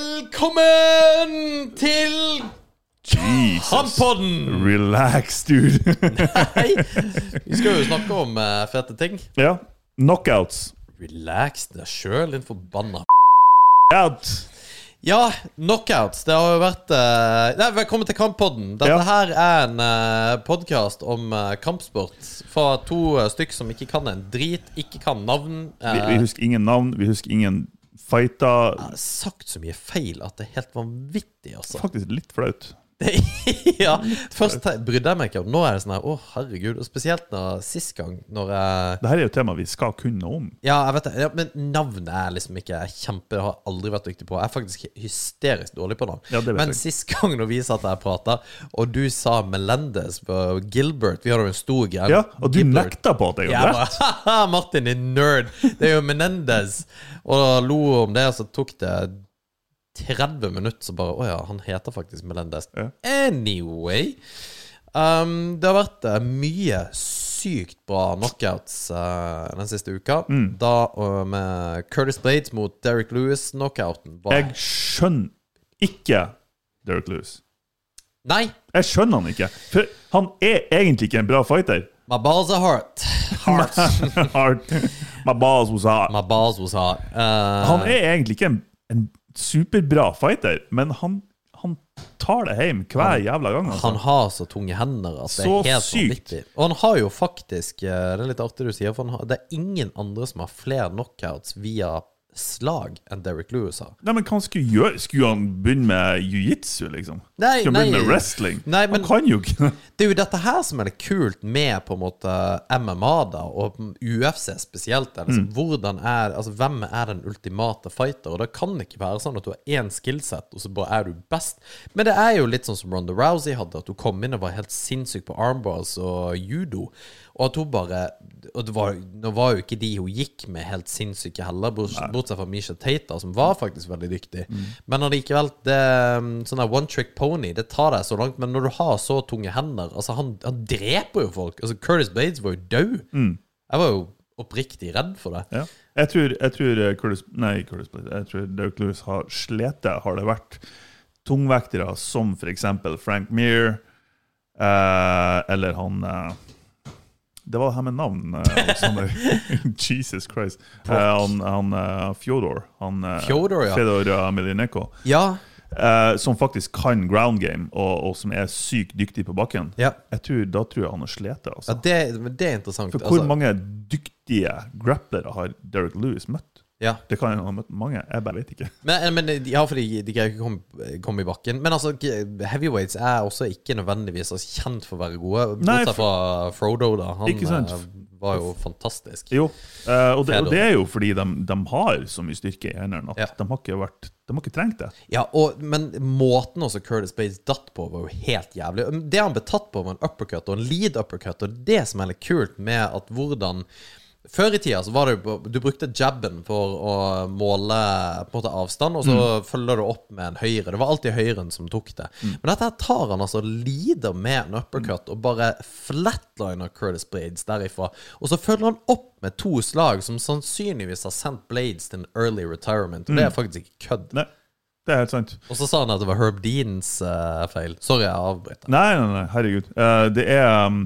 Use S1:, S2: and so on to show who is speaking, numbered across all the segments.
S1: Velkommen til
S2: Jesus.
S1: Hampodden!
S2: Relax, dude.
S1: Hei! Vi skal jo snakke om eh, fete ting.
S2: ja. Knockouts.
S1: Relax deg sjøl, din forbanna
S2: Out.
S1: Ja, knockouts. Det har jo vært eh, Nei, Velkommen til Kamppodden. Dette
S2: Ja.
S1: her er en uh, podkast om eh, kampsport fra to eh, stykk som ikke kan en drit, ikke kan navn. eh,
S2: Vi, vi husker ingen navn, vi husker ingen fighter.
S1: sagt så mye feil at det er helt vanvittig, altså.
S2: Faktisk litt flaut.
S1: ja, Først te- brydde jeg meg ikke om Nå er det sånn her, å herregud. Og spesielt når, sist gang, når jeg
S2: Dette er jo et tema vi skal kunne noe om.
S1: Ja, jeg vet det. Ja, men navnet er liksom ikke kjempe Jeg har aldri vært dyktig på Jeg er faktisk hysterisk dårlig på navn.
S2: Ja, det vet
S1: men
S2: jeg.
S1: sist gang når vi satt der og prata, og du sa Melendez på Gilbert Vi hadde jo en stor greie.
S2: Ja, Og du
S1: Gilbert.
S2: nekta på at jeg
S1: Jeg
S2: hadde
S1: bare,
S2: rett.
S1: Haha, Martin, din nerd! Det er jo Menendez! Og da lo hun om det, og så tok det 30 minutter, så bare Å ja, han heter faktisk Menendez.
S2: Ja.
S1: Anyway. Um, det har vært eh, mye sykt bra knockouts eh, den siste uka.
S2: Mm.
S1: Da eh, med Curtis Blades mot Derek Lewis-knockouten.
S2: Jeg skjønner ikke Derek Lewis.
S1: Nei!
S2: Jeg skjønner han ikke. For han er egentlig ikke en bra fighter.
S1: My balls are hard.
S2: Hard. My boss was hard.
S1: My balls was hard. Eh,
S2: Han er egentlig ikke en, en superbra fighter, men han, han tar det hjem hver jævla gang. Altså.
S1: Han har så tunge hender at det
S2: Så
S1: er helt
S2: sykt.
S1: vanvittig. Og han har jo faktisk eh, Det er litt artig du sier, for han har, det er ingen andre som har flere knockouts via slag enn Derek Lewis har.
S2: Nei, men hva han skulle gjøre? Skulle han begynne med jiu-jitsu, liksom?
S1: Nei,
S2: skulle han
S1: nei.
S2: begynne med wrestling?
S1: Nei, men-
S2: han kan jo ikke det.
S1: Det er jo dette her som er litt kult med på en måte MMA da, og UFC spesielt. Er
S2: Mm.
S1: liksom, hvordan er, altså, hvem er den ultimate fighter? Og Det kan ikke være sånn at du har én skillset, og så bare er du best. Men det er jo litt sånn som Ronda Rousey hadde, at hun kom inn og var helt sinnssyk på armbars og judo. Og at hun bare Og det var, nå var jo ikke de hun gikk med, helt sinnssyke heller, bort- bortsett fra Misha Tater, som var faktisk veldig dyktig.
S2: Mm.
S1: Men allikevel, det um, Sånn der one trick pony, det tar deg så langt. Men når du har så tunge hender Altså, han, han dreper jo folk. Altså, Curtis Bates var jo død. Jeg var jo oppriktig redd for det.
S2: Mm. Ja. Jeg tror, jeg tror eh, Curtis, nei, Curtis Blades, jeg tror Derek Lewis har slitt. Har det vært tungvektere som f.eks. Frank Meer, eh, eller han eh, Det var det her med navn, eh, Alexander. Jesus Christ. Eh, han han eh, Fjodor. Han, eh,
S1: Fjodor, ja.
S2: Fedor eh, Emelianenko,
S1: Ja.
S2: eh, som faktisk kan ground game, og, og som er sykt dyktig på bakken.
S1: Ja.
S2: Jeg tror, da tror jeg han har slitt. Altså.
S1: ja det, men det er interessant.
S2: For hvor
S1: altså.
S2: mange dyktige grapplere har Derek Lewis møtt?
S1: ja.
S2: Det kan han ha møtt mange, jeg bare vet ikke.
S1: Men, men ja, for de, de greier ikke å komme, eh, komme i bakken. Men altså, g- heavyweights er også ikke nødvendigvis altså, kjent for å være gode.
S2: Nei,
S1: Bortsett fra Frodo, da. Han
S2: Ikke sant.
S1: eh, var jo fantastisk.
S2: Jo, eh, og, det, og det er jo fordi de, de har så mye styrke i hendene at
S1: Ja.
S2: de, har ikke vært, de har ikke trengt det.
S1: Ja, og, Men måten også Curtis Bates datt på, var jo helt jævlig. Det han ble tatt på, var en uppercut og en lead uppercut. Og det som er litt kult med at hvordan Før i tida så var det jo på- Du brukte jabben for å måle på en måte avstand, og så følger du opp med en høyre. Det var alltid høyren som tok det. Men dette her tar han altså lider med en uppercut og bare flatliner Curtis Blades derifra. Og så følger han opp med to slag som sannsynligvis har sendt Blades til en early retirement. Og det er faktisk ikke kødd.
S2: Nei, det er helt sant.
S1: Og så sa han at det var Herb Deans eh, feil. Sorry, jeg avbryter.
S2: Nei, nei, nei, herregud. Eh, det er um,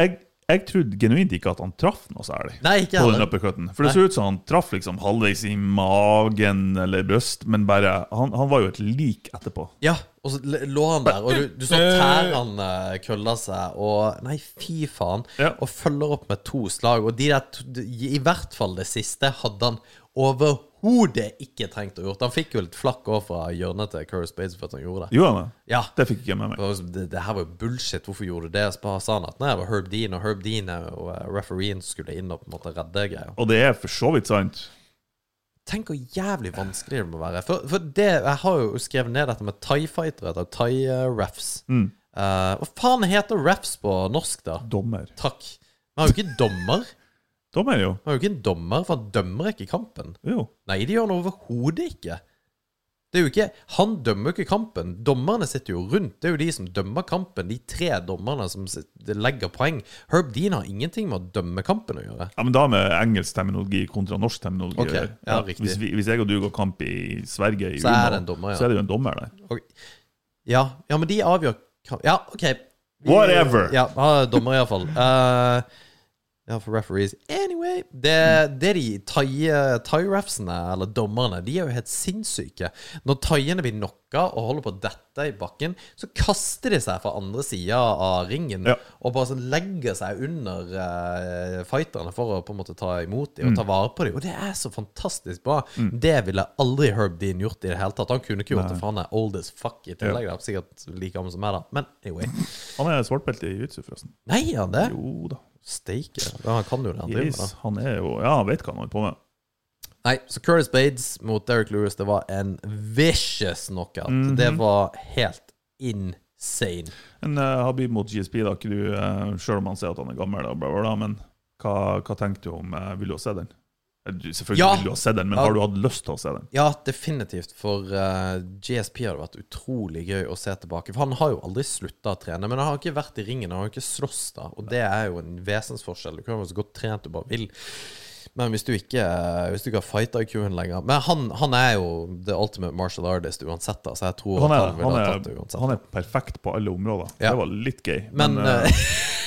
S2: jeg, jeg trodde genuint ikke at han traff noe særlig.
S1: Nei, ikke
S2: På den
S1: heller.
S2: uppercutten. For det så ut som han traff liksom halvveis i magen eller bryst, men bare Han, han var jo et lik etterpå.
S1: Ja, og så l- lå han der, og du, du så tærne kølla eh, seg, og Nei, fy faen.
S2: Ja.
S1: Og følger opp med to slag, og de der to, de- I hvert fall det siste hadde han overhodet ikke trengt å gjort. Han fikk jo litt flakk òg fra hjørnet til Curry Spades for at han gjorde det.
S2: Gjorde han det?
S1: Ja.
S2: Det fikk ikke jeg med meg.
S1: Det, var liksom, det, det her var jo bullshit. Hvorfor gjorde du det? Så bare sa han at nei, det var Herb Dean, og Herb Dean er jo eh, refereen som skulle inn og på en måte redde greia.
S2: Og det er for så vidt sant.
S1: Tenk hvor jævlig vanskelig det må være. For, for det, jeg har jo skrevet ned dette med thai-fightere og thai-refs. eh,
S2: Mm.
S1: hva faen heter refs på norsk, da?
S2: Dommer.
S1: Takk. Man har jo ikke dommer.
S2: Dommer, jo.
S1: Man har jo ikke en dommer, for han dømmer ikke kampen.
S2: Jo.
S1: Nei, det gjør han overhodet ikke. Det er jo ikke, han dømmer jo ikke kampen. Dommerne sitter jo rundt. Det er jo de som dømmer kampen. De tre dommerne som sitter, legger poeng. Herb Dean har ingenting med å dømme kampen å gjøre.
S2: Ja, men da med engelsk terminologi kontra norsk terminologi.
S1: Ok,
S2: å gjøre.
S1: ja, riktig.
S2: hvis, vi, hvis jeg og du går kamp i Sverige, i
S1: Så er
S2: Umeå,
S1: det en dommer, ja.
S2: så er det jo en dommer der.
S1: Og, ja, ja, men de avgjør kam- Ja, OK. Vi-
S2: Whatever.
S1: Ja, ha dommer iallfall. Uh, ja, for referees. Anyway Det, det er de thai- thai-refsene, eller dommerne, de er jo helt sinnssyke. Når thaiene blir knocka og holder på å dette i bakken, så kaster de seg fra andre sida av ringen
S2: Ja.
S1: og bare sånn legger seg under eh, fighterne for å på en måte ta imot
S2: Mm.
S1: dem og ta vare på dem. Og det er så fantastisk bra. Det ville aldri Herb Dean gjort i det hele tatt. Han kunne ikke gjort det, for han er old as fuck i tillegg. da. Sikkert like gammel som meg, da. Men anyway.
S2: Han er svartbelte i jiu-jitsu, forresten.
S1: Nei, er han det?
S2: Jo da.
S1: Steike. Ja, han kan jo det han driver med. da.
S2: Yes, han er jo Ja, han vet hva han holder på med.
S1: Nei, så Curtis Bades mot Derek Lewis, det var en vicious knockout.
S2: Mhm.
S1: Det var helt insane.
S2: Men eh, Habib mot GSP, da, ikke du, eh, selv om han sier at han er gammel, da, bla, bla, bla, men hva, hva tenkte du om eh, Vil du ha sett den? Eh, Du, selvfølgelig
S1: Ja.
S2: vil du ha sett den, men
S1: Ja.
S2: har du hatt lyst til å se den?
S1: Ja, definitivt, for eh, GSP hadde vært utrolig gøy å se tilbake. For han har jo aldri slutta å trene, men han har ikke vært i ringen, han har ikke slåss da, og det er jo en vesensforskjell. Du kan være så godt trent du bare vil. Men hvis du ikke eh, Hvis du ikke har fighter-IQ-en lenger Men han, han er jo the ultimate martial artist uansett, da, så jeg tror at
S2: Han er,
S1: han
S2: han,
S1: ville ha tatt det
S2: er,
S1: uansett.
S2: han er perfekt på alle områder.
S1: Ja.
S2: Det var litt gøy.
S1: Men,
S2: eh,
S1: eh,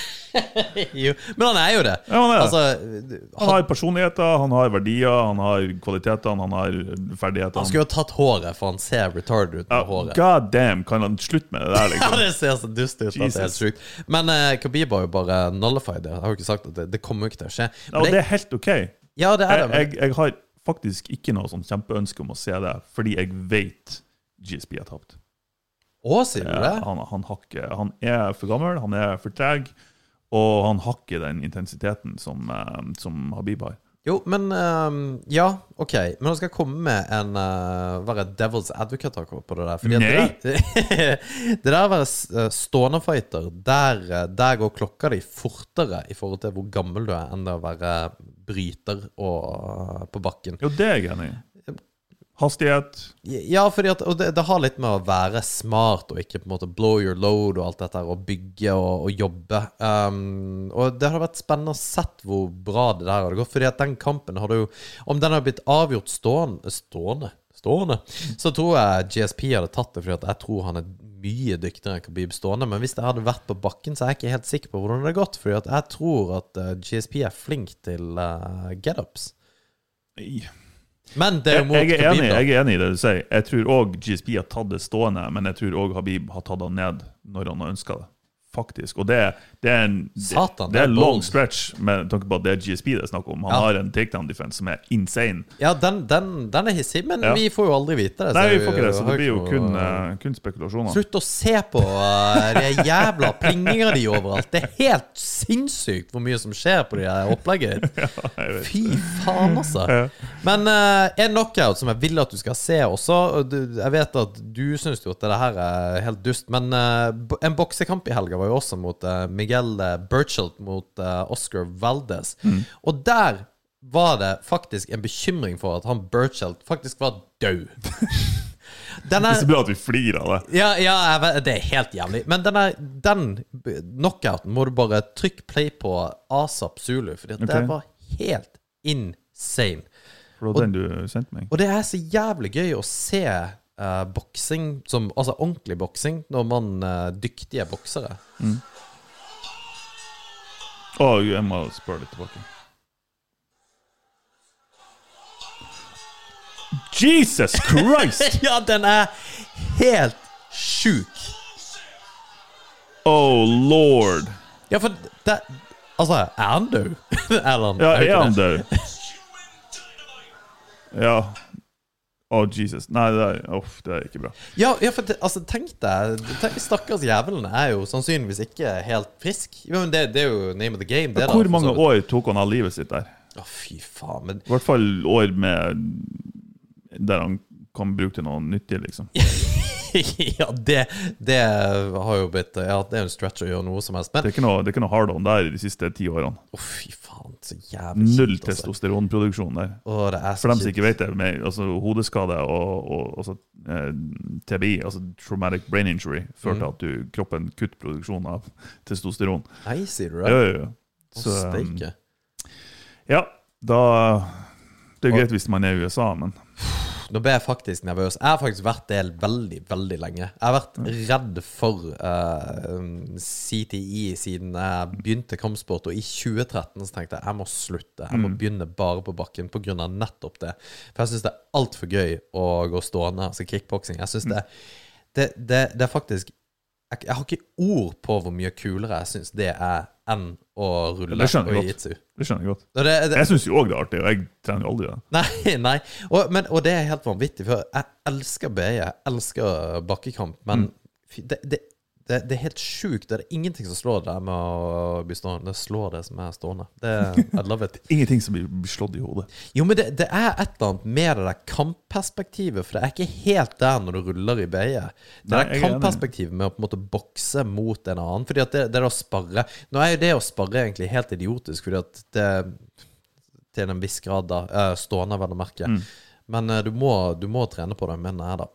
S1: jo, men han er jo det.
S2: ja, han, er, det.
S1: Altså,
S2: han har personligheter, han har verdier, han har kvaliteter, han har ferdigheter.
S1: Han
S2: Han
S1: skulle jo tatt håret, for han ser retarded ut med håret.
S2: God damn, kan han slutte med det der,
S1: Ja,
S2: liksom?
S1: det ser så dust ut. at Det er helt
S2: Jesus.
S1: sjukt. Men eh, Khabib har jo bare nullified det. Jeg har jo ikke sagt at det, det kommer jo ikke til å skje. Men
S2: Ja, og
S1: det,
S2: det er helt OK. Jeg,
S1: ja, det er det. Men,
S2: jeg, jeg har faktisk ikke noe sånn kjempeønske om å se det, fordi jeg vet GSP har tapt.
S1: å, sier du det?
S2: Eh, Han, han, har ikke, han er for gammel, han er for treg, og han har ikke den intensiteten som, eh, som Habib har.
S1: Jo, men ehm, Ja, OK. Men han skal komme med en eh, Være devil's advocate akkurat på det der. Fordi at Det der, det der å være s- eh, stående fighter, der, eh, der går klokka di fortere i forhold til hvor gammel du er, enn det å være bryter og, eh, på bakken.
S2: Jo, det er jeg enig i. Hastighet.
S1: Ja, fordi at, og det, det har litt med å være smart og ikke på en måte blow your load og alt dette her, og bygge og, og jobbe. Um, og det hadde vært spennende å sett hvor bra det der hadde gått. Fordi at den kampen hadde jo Om den hadde blitt avgjort stående Stående? Stående? Så tror jeg GSP hadde tatt det, fordi at jeg tror han er mye dyktigere enn Khabib stående. Men hvis det hadde vært på bakken, så er jeg ikke helt sikker på hvordan det hadde gått. Fordi at jeg tror at eh, GSP er flink til uh, get-ups.
S2: Jeg,
S1: Men det er jo mot
S2: jeg, er enig,
S1: da.
S2: jeg er enig i det du sier. Jeg tror òg GSP har tatt det stående, men jeg tror òg Habib har tatt han ned når han har ønska det. Faktisk. Og det, det er en det,
S1: Satan,
S2: det
S1: det
S2: er
S1: er
S2: en long
S1: bold.
S2: stretch med tanke på at det er GSP det er snakk om. Han
S1: Ja.
S2: har en takedown defense som er insane.
S1: Ja, den, den, den er hissig, men
S2: Ja.
S1: vi får jo aldri vite det.
S2: Nei, vi
S1: jeg
S2: får ikke det,
S1: Altså,
S2: så
S1: har
S2: det blir jo
S1: ikke
S2: kun,
S1: noe-
S2: eh, kun spekulasjoner.
S1: Slutt å se på eh, de jævla plinginga di overalt. Det er helt sinnssykt hvor mye som skjer på det der opplegget ditt.
S2: Jeg vet.
S1: Fy faen, altså. Men eh, en knockout som jeg vil at du skal se også og du, Jeg vet at du syns jo at det her er helt dust, men eh, bo- en boksekamp i helga var jo også mot eh, Miguel eh, Burchelt mot eh, Oscar Valdez.
S2: Mm.
S1: Og der var det faktisk en bekymring for at han Burchelt faktisk var død. Den
S2: Det
S1: er
S2: er så bra at vi flirer av det.
S1: ja, ja jeg vet, det er helt jævlig. Men den, er, den b- knockouten må du bare trykke play på ASAP Zulu, Fordi at det
S2: Ok.
S1: var helt insane.
S2: For det var den du sendte meg.
S1: Og det er så jævlig gøy å se eh, boksing, som- altså ordentlig boksing, når man eh, dyktige boksere.
S2: Å, jeg må spørre litt tilbake. Jesus Christ!
S1: Ja, den er helt sjuk.
S2: Oh lord.
S1: Ja, for det Altså, er han død? Erland?
S2: Ja,
S1: er jo
S2: er
S1: ikke
S2: han
S1: det.
S2: død? Ja. Oh, Jesus. Nei, det er, uff, det er ikke bra.
S1: Ja, ja, for det, altså, tenk deg tenk, Stakkars jævelen er jo sannsynligvis ikke helt frisk. Jo, men det, det er jo name of the game. Det, da,
S2: Hvor
S1: for så
S2: mange
S1: vidt.
S2: år tok han av livet sitt der?
S1: Å, fy faen. Men
S2: I hvert fall år med der han kan bruke til noe nyttig, liksom.
S1: ja, det, det har jo blitt Ja, det er jo en stretch å gjøre noe som helst.
S2: Det
S1: Men
S2: er ikke noe, det er ikke noe hard on der i de siste ti årene.
S1: å, fy faen, så jævlig
S2: Null
S1: kjipt, altså.
S2: testosteronproduksjon der.
S1: Å, det er
S2: For
S1: så
S2: dem som
S1: kjipt.
S2: ikke vet det, med altså, hodeskade og, og altså, eh, TBI, altså traumatic brain injury,
S1: Mm.
S2: fører til at du, kroppen kutter produksjonen av testosteron.
S1: Nei, sier du
S2: Ja,
S1: det?
S2: ja, ja.
S1: Å,
S2: Så, eh,
S1: steike.
S2: ja, da Det er jo greit hvis man er i USA, men
S1: Nå ble jeg faktisk nervøs. Jeg har faktisk vært det veldig, veldig lenge. Jeg har
S2: Mm.
S1: vært redd for eh, um, CTI siden jeg begynte kampsport, og i 2013 så tenkte jeg jeg må slutte. Jeg må
S2: Mm.
S1: begynne bare på bakken på grunn av nettopp det. For jeg syns det er altfor gøy å gå stående, altså kickboksing. Jeg
S2: Mm.
S1: synes det, det, det, det er faktisk jeg, jeg har ikke ord på hvor mye kulere jeg syns det er enn å rulle
S2: Det skjønner
S1: og
S2: jeg godt.
S1: jitsu.
S2: det skjønner jeg godt.
S1: Og det, det,
S2: Jeg syns jo òg det er artig, og jeg trener jo aldri det.
S1: Nei, nei. Og, men, og det er helt vanvittig, for jeg elsker BI, jeg elsker bakkekamp, men fy, det, det, det, det er helt sjukt. Det er ingenting som slår det der med å bli stående. Det slår det som er stående. Det, I love it.
S2: Ingenting som blir blir slått i hodet.
S1: Jo, men det, det er et eller annet med det der kampperspektivet, for det er ikke helt der når du ruller i BI. Det
S2: Nei,
S1: der
S2: jeg er enig.
S1: kampperspektivet med å på en måte bokse mot en annen, fordi at det, det er å sparre Nå er jo det å sparre egentlig helt idiotisk, fordi at det til en viss grad da, eh, stående, vel å merke.
S2: Mm.
S1: Men eh, du, må, du må trene på det, mener jeg, da.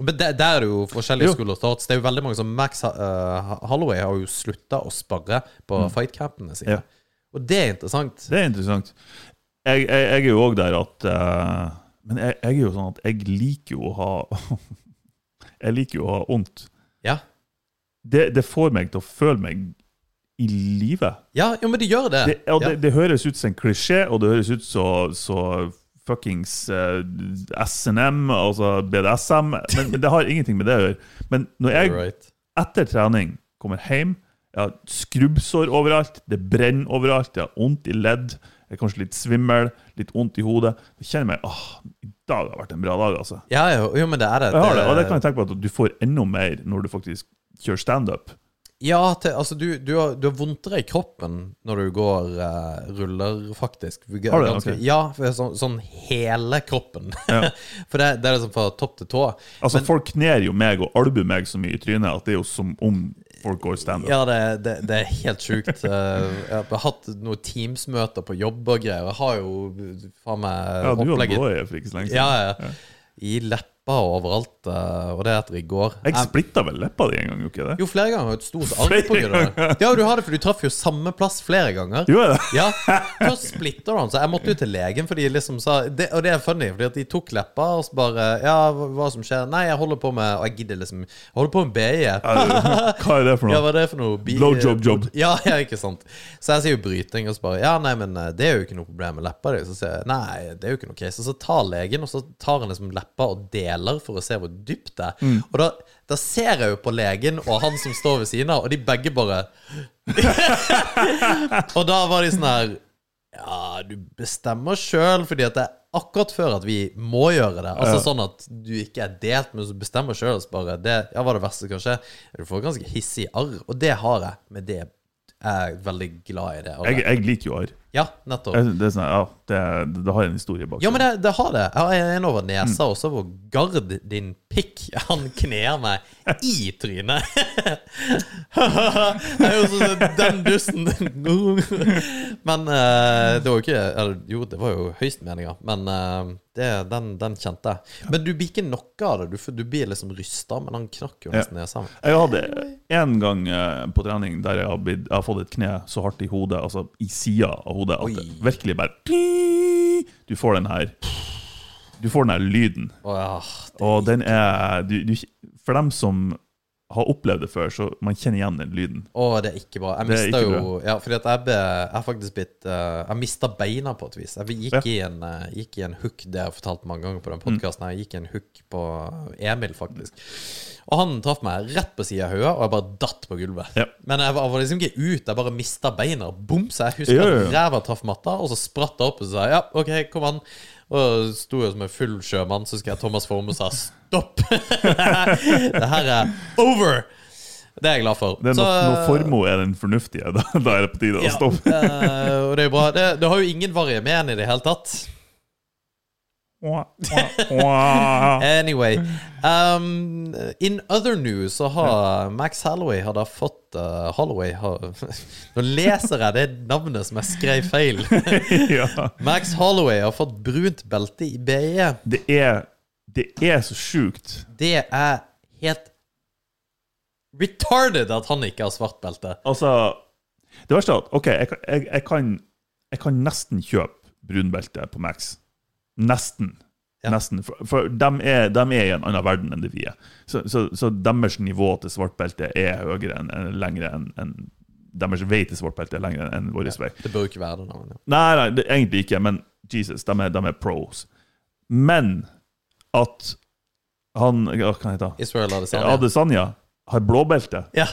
S1: Men der, der er det jo forskjellige
S2: Jo.
S1: school of thoughts. Det er jo veldig mange som Max eh, Holloway har jo slutta å sparre på fightcampene sine.
S2: Mm. Ja.
S1: Og det er interessant.
S2: Det er interessant. Jeg, jeg, jeg er jo òg der at eh, Men jeg, jeg er jo sånn at jeg liker jo å ha Jeg liker jo å ha vondt.
S1: Ja.
S2: Det, det får meg til å føle meg i live.
S1: Ja, jo, men det gjør det.
S2: Det, og
S1: ja.
S2: det, det høres ut som en klisjé, og det høres ut så, så fuckings eh, SNM, altså BDSM, men, men det har ingenting med det å gjøre. Men når jeg
S1: Right.
S2: etter trening kommer hjem, jeg har skrubbsår overalt, det brenner overalt, jeg har vondt i ledd, jeg er kanskje litt svimmel, litt vondt i hodet. Da kjenner jeg meg åh, i dag har vært en bra dag, altså.
S1: Ja, jo, jo, men det er det.
S2: Jeg har det, og det kan jeg tenke på at du får enda mer når du faktisk kjører standup.
S1: Ja, til, altså, du, du, har, du har vondtere i kroppen når du går eh, ruller, faktisk. Har
S2: Har du det? Ok.
S1: Ja, for sånn, sånn hele kroppen. for det, det er liksom fra topp til tå.
S2: Altså, folk kner jo meg og albuer meg så mye i trynet at det er jo som om folk går standup.
S1: Ja, det, det, det er helt sjukt. Eh, Jeg har hatt noen Teams-møter på jobb og greier. Jeg har jo faen meg
S2: Ja, du hadde
S1: opplegget
S2: blå øye for ikke så lenge siden.
S1: ja, ja. I leppa og overalt, eh, og det etter i går.
S2: Jeg
S1: Jeg-
S2: splitta vel leppa di en gang, gjorde jeg ikke det?
S1: Jo, flere ganger har jeg et stort arr
S2: Flere
S1: på grunn av det. Ja, du har det, for du traff jo samme plass flere ganger.
S2: Gjorde jeg det?
S1: Ja, Først splitter han, så jeg måtte jo til legen, for de liksom sa det, Og det er funny, fordi at de tok leppa, og så bare Ja, hva hva som skjer? Nei, jeg holder på med Og jeg gidder liksom Jeg holder på med BI.
S2: Hva er det for
S1: Ja, hva
S2: noe?
S1: er det for noe? Bi-
S2: Blowjob-job.
S1: Ja, ja, ikke sant. Så jeg sier jo bryting, og så bare Ja, nei, men eh, det er jo ikke noe problem med leppa di. Så sier jeg nei, det er jo ikke noe case. Og så tar legen, og så tar han liksom leppa og deler for å se hvor dypt det
S2: Mm.
S1: er. Og da, da ser jeg jo på legen og han som står ved siden av, og de begge bare Og da var de sånn her Ja, du bestemmer sjøl, fordi at det er akkurat før at vi må gjøre det. Altså sånn at du ikke er delt, men så bestemmer sjøl. Bare det Ja, hva er det verste som kan skje? Du får ganske hissig arr, og det har jeg. Men det er jeg veldig glad i det.
S2: Jeg,
S1: arret.
S2: jeg liker jo arr.
S1: Ja, nettopp.
S2: Jeg- Det er sånn, ja, det, det har en historie bak.
S1: Ja, men det, det har det. Jeg har en over nesa også, hvor Gard, din pikk, han kner meg i trynet. Jeg er jo sånn som den dusten. Men eh, det var jo ikke eller, Jo, det var jo høyst meninga, men eh, det, den, den kjente jeg. Men du blir ikke knocka av det. Du, f- du blir liksom rysta, men han knakk jo nesten nesa.
S2: Jeg hadde en gang eh, på trening der jeg har, blitt, jeg har fått et kne så hardt i hodet, altså i sida av hodet, at det virkelig bare Du får den her Du får den her lyden.
S1: Å, ja.
S2: Og den er du, du, For dem som har opplevd det før, så man kjenner igjen den lyden.
S1: Å, det er ikke bra. Jeg
S2: Det er
S1: mista
S2: ikke
S1: jo Ja, fordi at jeg ble Jeg har faktisk blitt eh, Jeg mista beina på et vis. Jeg gikk, i, en, eh, gikk i en hook, det har jeg fortalt mange ganger
S2: Mm.
S1: på den podkasten. Jeg gikk i en hook på Emil, faktisk. Og han traff meg rett på sida av hodet, og jeg bare datt på gulvet.
S2: Ja.
S1: Men jeg var, jeg var liksom ikke ut, jeg bare mista beina. Bom! Så jeg husker
S2: Ja, ja, ja.
S1: at ræva traff matta, og så spratt jeg opp og så sa jeg, ja, OK, kom an. Og sto jo som en full sjømann, så husker jeg Thomas Forme sa stopp! det her er over! Det er jeg glad for.
S2: Det er
S1: Så,
S2: når, når formoe er den fornuftige, da, da er det på tide å
S1: ja,
S2: stoppe.
S1: eh, og det er bra. Det, det har jo ingen variemen i det hele tatt.
S2: Wah, wah, wah.
S1: Anyway. Um, in other news så har Max Halloway har da fått uh, Holloway har, Nå leser jeg det navnet som jeg skrev feil.
S2: ja.
S1: Max Holloway har fått brunt belte i BE.
S2: Det er Det er så sjukt.
S1: Det er helt retarded at han ikke har svart belte.
S2: Altså Det verste er at OK, jeg, kan- jeg, jeg, kan, jeg kan nesten kjøpe brunbelte på Max. Nesten.
S1: Ja.
S2: Nesten. For, for de, er, dem er i en annen verden enn det vi er. Så, så, så deres nivå til svartbelte er høyere enn enn- lengre enn enn- Deres vei til svartbelte er lengre enn vår vei.
S1: Det bør jo ikke være det navnet.
S2: Nei, nei det, egentlig ikke, men Jesus, de er, de er pros. Men at han Hva kan jeg ta?
S1: Israel Adesanya.
S2: Adesanya har blåbelte.
S1: Ja.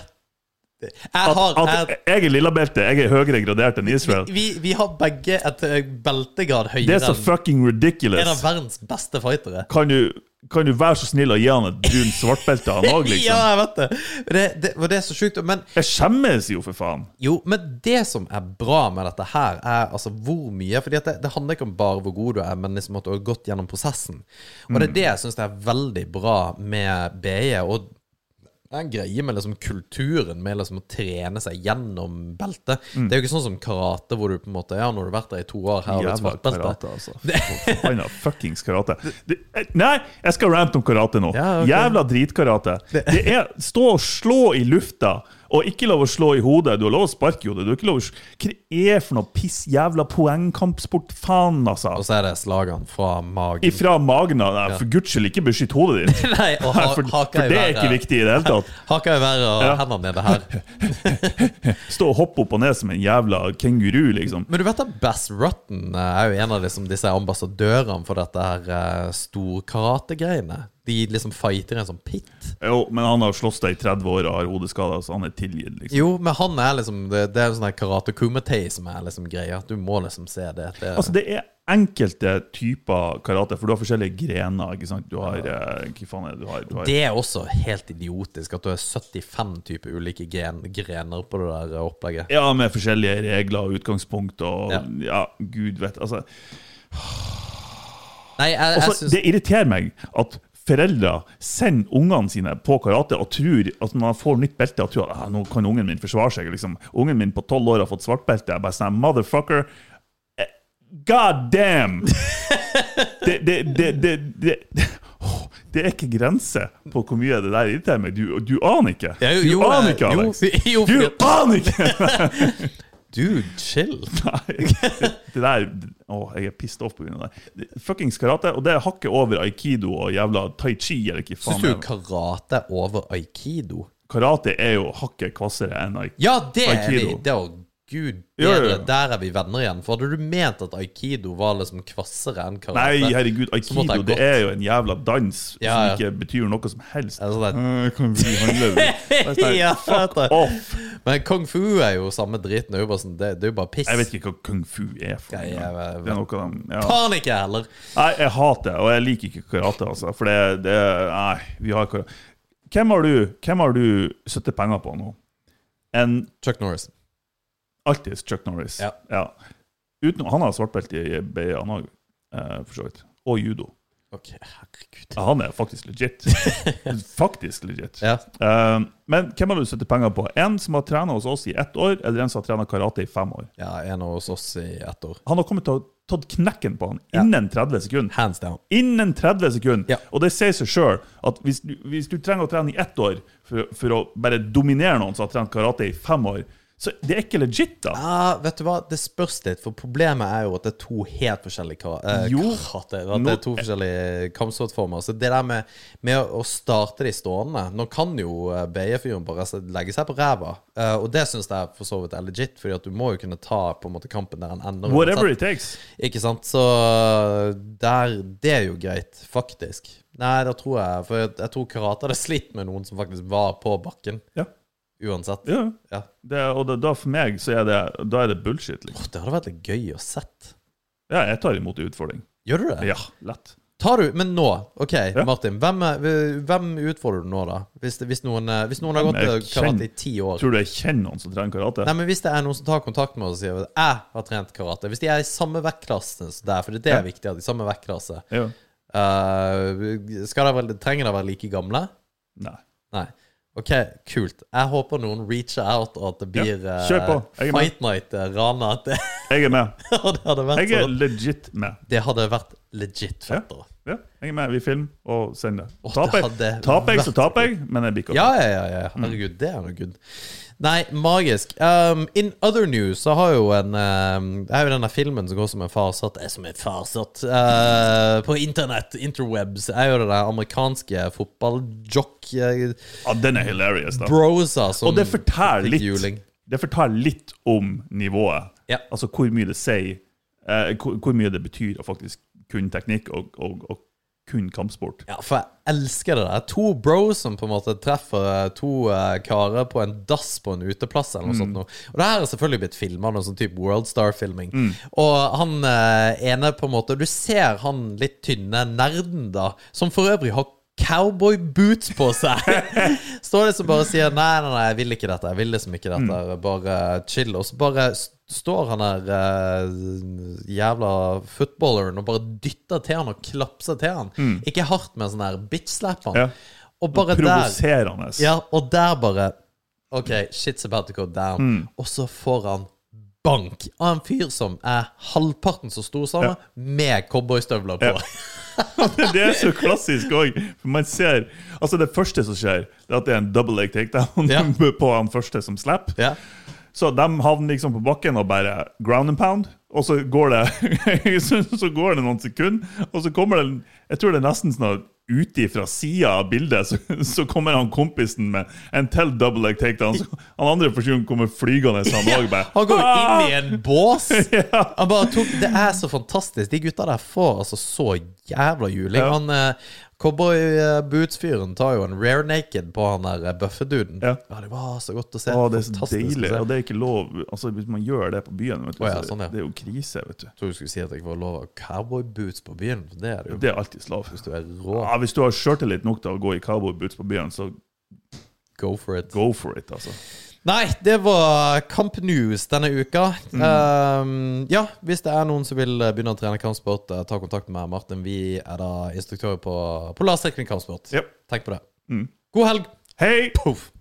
S1: Jeg
S2: At,
S1: har
S2: at
S1: jeg,
S2: jeg er lillabelte, jeg er høyere gradert enn Israel.
S1: vi, vi har begge et eh, beltegrad
S2: Det
S1: høyere
S2: er så
S1: enn
S2: fucking
S1: en av
S2: ridiculous.
S1: verdens beste fightere.
S2: Kan du, kan du være så snill å gi han et brunt svartbelte, han òg,
S1: Ja,
S2: liksom?
S1: jeg vet det. Det, det, og det er så sjukt. Men,
S2: Jeg skjemmes jo, for faen.
S1: jo, men det som er bra med dette her, er altså hvor mye fordi at det, det handler ikke om bare hvor god du er, men liksom at du har gått gjennom prosessen. Og
S2: Mm.
S1: det er det jeg syns er veldig bra med BE. Og det er en greie med liksom kulturen med liksom å trene seg gjennom beltet.
S2: Mm.
S1: Det er jo ikke sånn som karate, hvor du på en måte Ja, nå har du vært der i to år, her har du et
S2: Jævla
S1: svart belte.
S2: karate, altså. Forbanna fuckings karate. Det, eh, nei, jeg skal rante om karate nå.
S1: Ja, ok.
S2: Jævla dritkarate. Det er stå og slå i lufta, og ikke lov å slå i hodet. Du har lov å sparke i hodet. Du har ikke lov å s- Hva det er for noe piss jævla poengkampsport? Faen, altså.
S1: Og så er det slagene fra magen.
S2: Ifra magen av Nei, For guds skyld, ikke beskytt hodet ditt.
S1: Nei, og ha,
S2: Nei, for,
S1: haka
S2: for
S1: i
S2: det er
S1: været.
S2: ikke viktig i det hele tatt.
S1: Haka i været og hendene nede her.
S2: Stå og hoppe opp og ned som en jævla kenguru, liksom.
S1: Men du vet at Bass Rutten eh, er jo en av liksom, disse ambassadørene for dette her eh, storkarategreiene. De liksom fighter i en sånn pit.
S2: Jo, men han har slåss deg i 30 år og har hodeskader, så han er tilgitt, liksom.
S1: Jo, men han er liksom Det, det er sånn her karate kumite som er liksom greia. Du må liksom se det. det
S2: Altså, det er enkelte typer karate, for du har forskjellige grener. ikke sant? Du har eh, Hva faen er det du har? Du har
S1: det er også helt idiotisk at du har 75 typer ulike gen, grener på det der eh, opplegget.
S2: ja, med forskjellige regler og utgangspunkt og
S1: Ja.
S2: Ja, gud vet altså,
S1: Nei, jeg, jeg
S2: altså
S1: syns
S2: Det irriterer meg at foreldre sender ungene sine på karate og tror at når man får nytt belte og tror at ah, nå kan ungen min forsvare seg. liksom. Ungen min på tolv år har fått svart belte. Jeg bare sånn, motherfucker, eh, god damn! det, det, det, det, det, åh, det er ikke grenser på hvor mye det der irriterer meg. Du, du aner ikke.
S1: Ja, jo,
S2: du
S1: jo, jeg-
S2: aner ikke,
S1: jo,
S2: Alex.
S1: jo, fordi-
S2: du aner ikke!
S1: Dude, chill.
S2: Nei, det, det der Å, jeg er pissed off pga. det. det. Fuckings karate. Og det er hakket over aikido og jævla tai chi. eller ikke faen
S1: Syns du
S2: det er.
S1: karate er over aikido?
S2: Karate er jo hakket kvassere enn aikido.
S1: Ja, det er vi.
S2: Aikido.
S1: Det er jo Gud
S2: Jo, jo,
S1: bedre,
S2: jo.
S1: der er vi venner igjen. For hadde du ment at aikido var liksom kvassere enn karate
S2: Nei, herregud,
S1: måtte
S2: aikido
S1: jeg
S2: det
S1: gått.
S2: er jo en jævla dans
S1: Ja, ja.
S2: som ikke betyr noe som helst.
S1: Altså, det er-
S2: Eh, jeg kan bli annerledes. Jeg er sånn,
S1: Ja,
S2: Fuck
S1: vet du.
S2: off!
S1: Men kung fu er jo samme driten. Det er jo bare, sånn, det, det er jo bare piss.
S2: Jeg vet ikke hva kung fu er. for
S1: Nei,
S2: noe.
S1: jeg vet-
S2: Det er noe av dem, ja.
S1: Faen ikke heller!
S2: Nei, jeg hater det, og jeg liker ikke karate, altså. For det, det Nei, vi har karate. Hvem har du, hvem har du satt penger på nå? En
S1: Chuck Norris.
S2: Alltid Chuck Norris.
S1: Ja.
S2: Utenom, han har svartbelte i BI, han òg, eh, for så vidt. Og judo.
S1: Ok, herregud.
S2: Ja, han er faktisk legit. faktisk legit.
S1: Ja.
S2: Eh, men hvem har du satt penger på? En som har trena hos oss i ett år, eller en som har trena karate i fem år?
S1: ja, en hos oss i ett år.
S2: Han har kommet til å ha tatt knekken på han
S1: Ja.
S2: innen 30 sekunder.
S1: Hands down.
S2: Innen 30 sekunder!
S1: Ja.
S2: Og det sier seg sjøl at hvis du, hvis du trenger å trene i ett år for, for å bare dominere noen som har trent karate i fem år, så det er ikke legit, da.
S1: Ja, Ah, vet du hva, det spørs litt, for problemet er jo at det er to helt forskjellige kar eh,
S2: Jo.
S1: karate. At det er to forskjellige kampsportformer. Så det der med, med å- å starte de stående Nå kan jo eh, BI-fyren bare s- legge seg på ræva, eh, og det syns jeg for så vidt er legit, fordi at du må jo kunne ta på en måte kampen der han ender. uansett.
S2: Whatever it takes.
S1: Ikke sant? Så eh, der, det er jo greit, faktisk. Nei, da tror jeg For jeg, jeg tror karate hadde slitt med noen som faktisk var på bakken,
S2: Ja.
S1: uansett.
S2: Ja.
S1: Ja.
S2: Det, og da, da for meg så er det, da er det bullshit. Liksom.
S1: Åh, det hadde vært litt gøy å sett.
S2: Ja, jeg tar imot utfordring.
S1: Gjør du det?
S2: Ja, lett.
S1: Tar du, Men nå, OK,
S2: Ja.
S1: Martin. Hvem, er- hvem utfordrer du nå, da? Hvis, det- hvis, noen, eh, hvis noen har gått
S2: Jeg
S1: eh,
S2: kjenner-
S1: karate i ti år?
S2: Tror du jeg kjenner noen som trener karate?
S1: Nei, men Hvis det er noen som tar kontakt med oss og sier at 'jeg har trent karate' Hvis de er i samme vektklasse som deg, for det er det
S2: Ja.
S1: viktig, at de er i samme vektklasse
S2: Ja.
S1: eh, skal de vel, Trenger de å være like gamle?
S2: Nei.
S1: Nei. OK, kult. Jeg håper noen reacher out, og at det
S2: Ja,
S1: blir eh,
S2: kjør på. Jeg er med.
S1: Fight Night eh, Rana. At det,
S2: Jeg er med.
S1: og det, hadde vært
S2: Jeg er
S1: så,
S2: legit med.
S1: det hadde vært legit fett. da.
S2: Ja, jeg er med. Vi filmer og sender det.
S1: Åh,
S2: Taper
S1: det hadde
S2: jeg, taper jeg, så taper jeg, men jeg blir ikke
S1: Ja, ja, ja. ja. Herregud, det er noe good. Nei, magisk. Um, in other news så har jo en um, Det er jo denne filmen som går som en farsatt Er som en farsatt uh, på internett, interwebs, er jo det der amerikanske fotballjock-brosa
S2: Ja, den er hilarious, da.
S1: som
S2: Og det forteller
S1: fikk
S2: litt,
S1: juling.
S2: det forteller litt om nivået.
S1: Ja.
S2: Altså hvor mye det sier, eh, hvor, hvor mye det betyr å faktisk kunne teknikk og, og, og kun kampsport.
S1: Ja, for jeg elsker det der. To bros som på en måte treffer eh, to eh, karer på en dass på en uteplass eller noe sånt noe. Og det her er selvfølgelig blitt filma, noe sånn type Worldstar-filming. Og han eh, ene på en måte Du ser han litt tynne nerden, da, som for øvrig har cowboy boots på seg. Står liksom bare og sier nei, nei, nei, jeg vil ikke dette. Jeg vil liksom ikke dette. Bare chill. Og så bare s- står han der eh, jævla footballeren og bare dytter til han og klapser til han. Ikke hardt, men sånn der bitch-slap han.
S2: Ja.
S1: Og bare der
S2: Provoserende.
S1: Ja, og der bare OK, shit's about to go down. Og så får han bank av en fyr som er halvparten så stor som han, med cowboystøvler på.
S2: Ja. det er så klassisk òg. For man ser Altså, det første som skjer, det er at det er en double leg takedown
S1: Ja.
S2: på han første som slipper.
S1: Ja.
S2: Så de havner liksom på bakken og bare ground and pound. Og så går det så, så går det noen sekunder, og så kommer det Jeg tror det er nesten sånn at ute fra sida av bildet, så, så kommer han kompisen med en til double leg takedown. Så Han andre personen kommer flygende, så han òg bare "Ah!"
S1: Han går inn i en bås.
S2: Ja.
S1: Han bare tok, det er så fantastisk. De gutta der får altså så jævla juling.
S2: Ja.
S1: Han eh, cowboyboots-fyren tar jo en rare naked på han der eh, bøffeduden.
S2: Ja.
S1: det var så godt å se.
S2: Å, det er så
S1: Fantastisk å
S2: deilig.
S1: se.
S2: Og det er ikke lov Altså, Hvis man gjør det på byen, vet du,
S1: Å ja,
S2: så
S1: sånn, ja.
S2: det er jo krise. vet du
S1: Jeg tror du skulle si at jeg ikke var lov av cowboyboots på byen. for Det er det jo.
S2: Det er alltid slav.
S1: Hvis du er rå,
S2: Ja, hvis du har sjøltillit nok til å gå i cowboyboots på byen, så
S1: go for it.
S2: go for it, altså.
S1: Nei, det var Kamp News denne uka.
S2: Mm.
S1: Um, ja, hvis det er noen som vil eh, begynne å trene kampsport, eh, ta kontakt med meg, Martin. Vi er da instruktører på, på lagstrekning kampsport.
S2: Jep.
S1: Tenk på det.
S2: Mm.
S1: God helg!
S2: Hei!
S1: Puff.